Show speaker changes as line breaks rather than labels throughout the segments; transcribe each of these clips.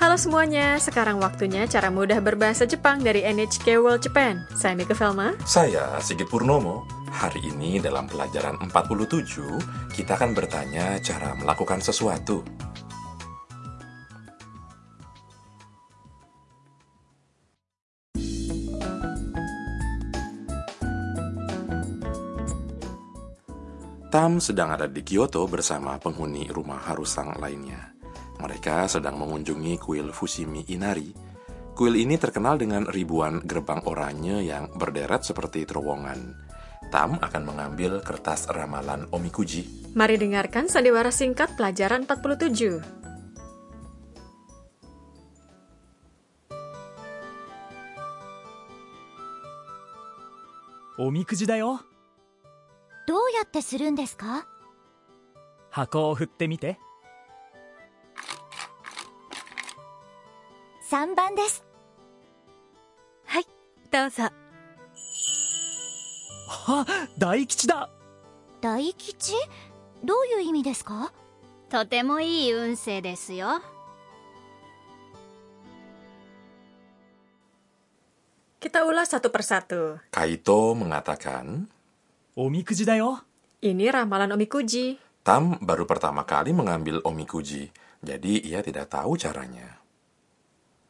Halo semuanya, sekarang waktunya cara mudah berbahasa Jepang dari NHK World Japan. Saya Mika Velma.
Saya Sigit Purnomo. Hari ini dalam pelajaran 47, kita akan bertanya cara melakukan sesuatu. Tam sedang ada di Kyoto bersama penghuni rumah Harusang lainnya. Mereka sedang mengunjungi kuil Fushimi Inari. Kuil ini terkenal dengan ribuan gerbang oranye yang berderet seperti terowongan. Tam akan mengambil kertas ramalan Omikuji.
Mari dengarkan sandiwara singkat pelajaran 47.
「おみくじだよ
どうやってするんですか
箱を振ってみて
3番ですはいどうぞ
あ大吉だ
大吉どういう意味ですか
とてもいい運勢ですよ
Kita ulas satu persatu.
Kaito mengatakan,
おみくじだよ
Ini ramalan Omikuji.
Tam baru pertama kali mengambil Omikuji, jadi ia tidak tahu caranya.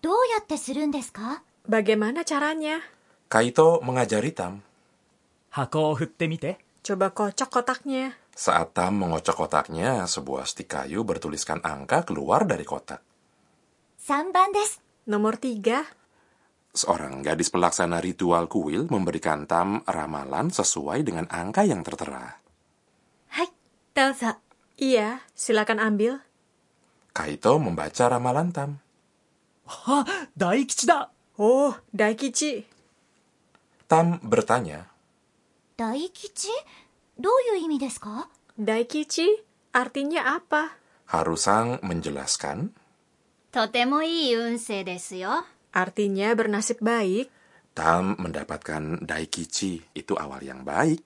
どうやってするんですか
Bagaimana caranya?
Kaito mengajari Tam.
箱を振ってみて
Coba kocok kotaknya.
Saat Tam mengocok kotaknya, sebuah stik kayu bertuliskan angka keluar dari kotak.
3番です
Nomor tiga,
Seorang gadis pelaksana ritual kuil memberikan Tam ramalan sesuai dengan angka yang tertera.
はいどうぞ
Iya, silakan ambil.
Kaito membaca ramalan Tam.
あ大吉だ
Oh, Daikichi.
Tam bertanya,
大吉どういう意味ですか
Daikichi artinya apa?
Harusang menjelaskan,
とてもいい運勢ですよ
Artinya bernasib baik.
Tam mendapatkan Daikichi, itu awal yang baik.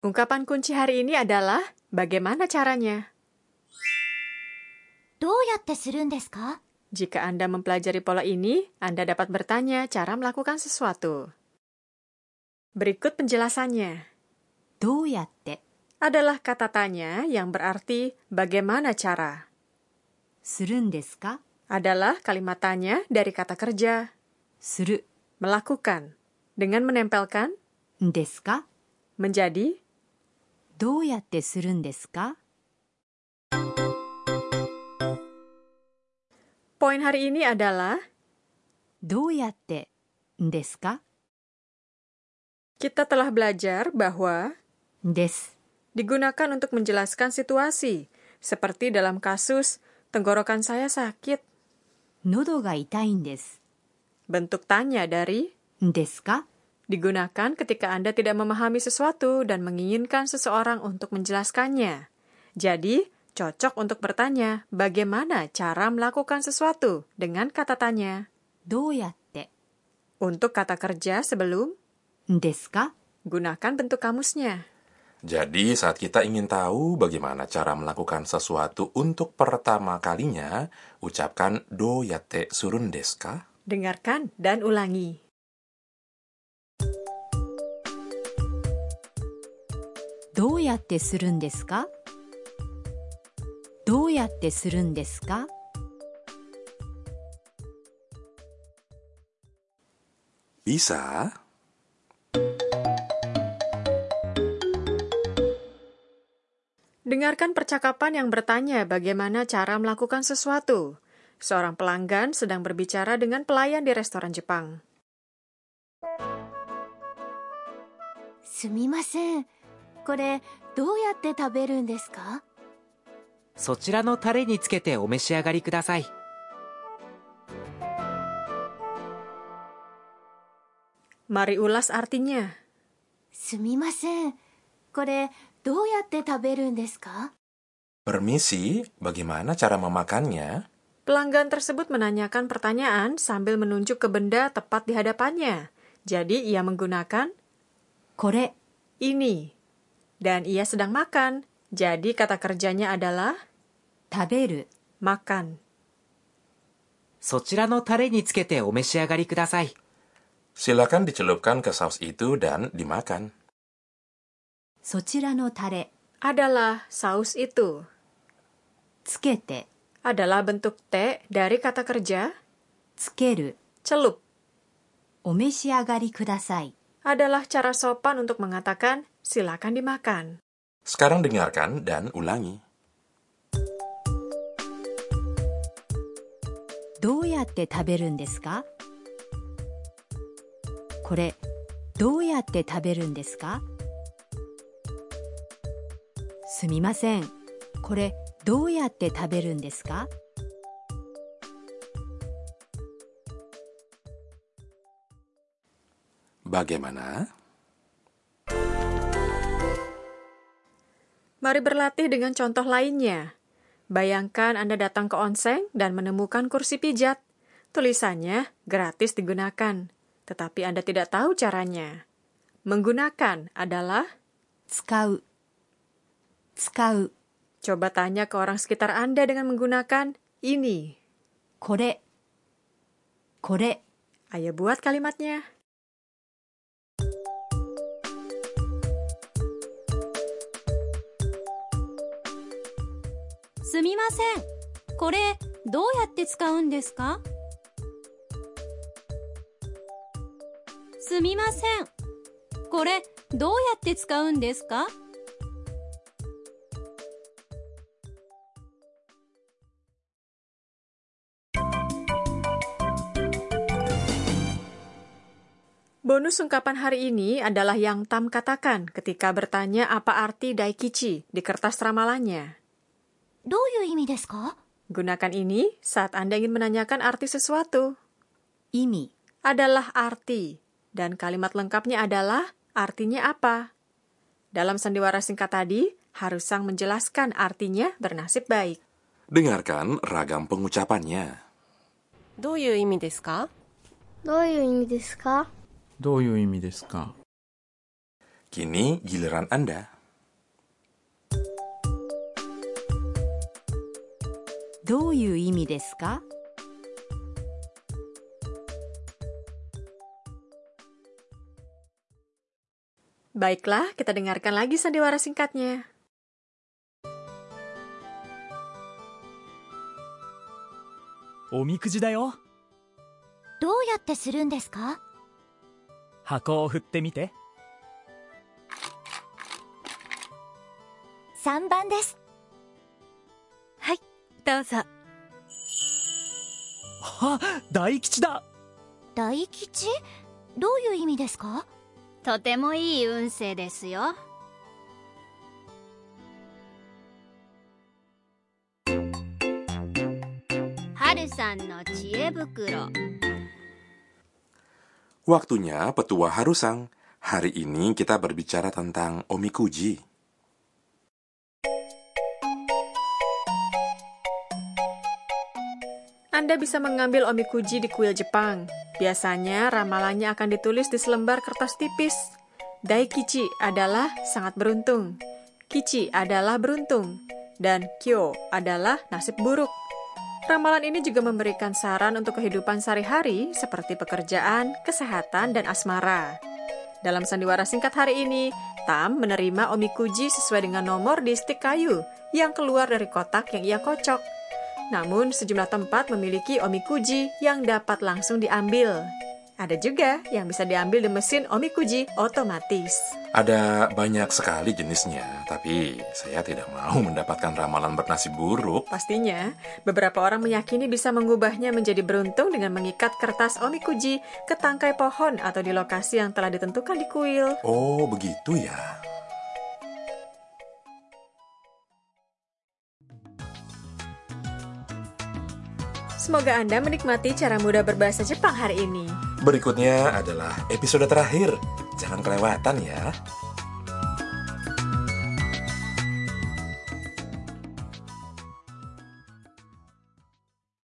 Ungkapan kunci hari ini adalah bagaimana caranya.
どうやってするんですか
Jika Anda mempelajari pola ini, Anda dapat bertanya cara melakukan sesuatu. Berikut penjelasannya.
どうやって
Adalah kata tanya yang berarti bagaimana cara.
するんですか
Adalah kalimat tanya dari kata kerja,
する
melakukan, dengan menempelkan
んですか
menjadi
どうやってするんですか
Poin hari ini adalah
どうやってんですか
kita telah belajar bahwa
です。
digunakan untuk menjelaskan situasi, seperti dalam kasus tenggorokan saya sakit.
喉が痛いんです。
Bentuk tanya dari
んですか
digunakan ketika Anda tidak memahami sesuatu dan menginginkan seseorang untuk menjelaskannya. Jadi, cocok untuk bertanya bagaimana cara melakukan sesuatu dengan kata tanya.
どうやって、
Untuk kata kerja sebelum,
んですか
gunakan bentuk kamusnya.
Jadi saat kita ingin tahu bagaimana cara melakukan sesuatu untuk pertama kalinya, ucapkan do yate surun desu ka?
Dengarkan dan ulangi.
「どうやってするんですか?」「どうやってするんですか?」
Bisa.
Dengarkan percakapan yang bertanya bagaimana cara melakukan sesuatu. Seorang pelanggan sedang berbicara dengan pelayan di restoran Jepang.
すみませんこれどうやって食べるんですか
そちらのタレにつけてお召し上がりください
Mari ulas artinya.
すみませんこれどうやって食べるんですか
Permisi, bagaimana cara memakannya?
Pelanggan tersebut menanyakan pertanyaan sambil menunjuk ke benda tepat di hadapannya. Jadi ia menggunakan
「これ
ini. Dan ia sedang makan. Jadi kata kerjanya adalah
食べる
makan.
そちらのタレにつけてお召し上がりください。
Silakan dicelupkan ke saus itu dan dimakan.
そちらのタレ
Adalah saus itu.
つけて
Adalah bentuk T dari kata kerja
つける
celup.
お召し上がりください
Adalah cara sopan untuk mengatakan silakan dimakan.
Sekarang dengarkan dan ulangi.
どうやって食べるんですかこれどうやって食べるんですかすみませんこれどうやって食べるんですか
Bagaimana?
Mari berlatih dengan contoh lainnya. Bayangkan Anda datang ke onsen dan menemukan kursi pijat. Tulisannya gratis digunakan, tetapi Anda tidak tahu caranya. Menggunakan adalah
使う使う
coba tanya ke orang sekitar Anda dengan menggunakan ini.
これこれ
Ayo buat kalimatnya.
すみませんこれどうやって使うんですかすみませんこれどうやって使うんですか
Bonus ungkapan hari ini adalah yang Tam katakan ketika bertanya apa arti daikichi di kertas ramalannya.
どういう意味ですか
Gunakan ini saat Anda ingin menanyakan arti sesuatu.
意味
adalah arti, dan kalimat lengkapnya adalah artinya apa. Dalam sandiwara singkat tadi, Harusang menjelaskan artinya bernasib baik.
Dengarkan ragam pengucapannya.
どういう意味ですか
どういう意味ですか
どういう意味ですか
Kini giliran Anda.
どういう意味ですか
Baiklah, kita dengarkan lagi sandiwara singkatnya.
おみくじだよ
どうやってするんですか
箱を振ってみて
3番ですはいどうぞ
あ大吉だ
大吉どういう意味ですか
とてもいい運勢ですよ。春さんの知恵袋。
Waktunya petua harusang. Hari ini kita berbicara tentang omikuji.
Anda bisa mengambil omikuji di kuil Jepang. Biasanya ramalannya akan ditulis di selembar kertas tipis. Daikichi adalah sangat beruntung. Kichi adalah beruntung. Dan kyo adalah nasib buruk. Ramalan ini juga memberikan saran untuk kehidupan sehari-hari seperti pekerjaan, kesehatan, dan asmara. Dalam sandiwara singkat hari ini, Tam menerima omikuji sesuai dengan nomor di stik kayu yang keluar dari kotak yang ia kocok. Namun, sejumlah tempat memiliki omikuji yang dapat langsung diambil. Ada juga yang bisa diambil di mesin omikuji otomatis.
Ada banyak sekali jenisnya, tapi saya tidak mau mendapatkan ramalan bernasib buruk.
Pastinya, beberapa orang meyakini bisa mengubahnya menjadi beruntung dengan mengikat kertas omikuji ke tangkai pohon atau di lokasi yang telah ditentukan di kuil.
Oh, begitu ya.
Semoga Anda menikmati cara mudah berbahasa Jepang hari ini.
Berikutnya adalah episode terakhir. Jangan kelewatan ya.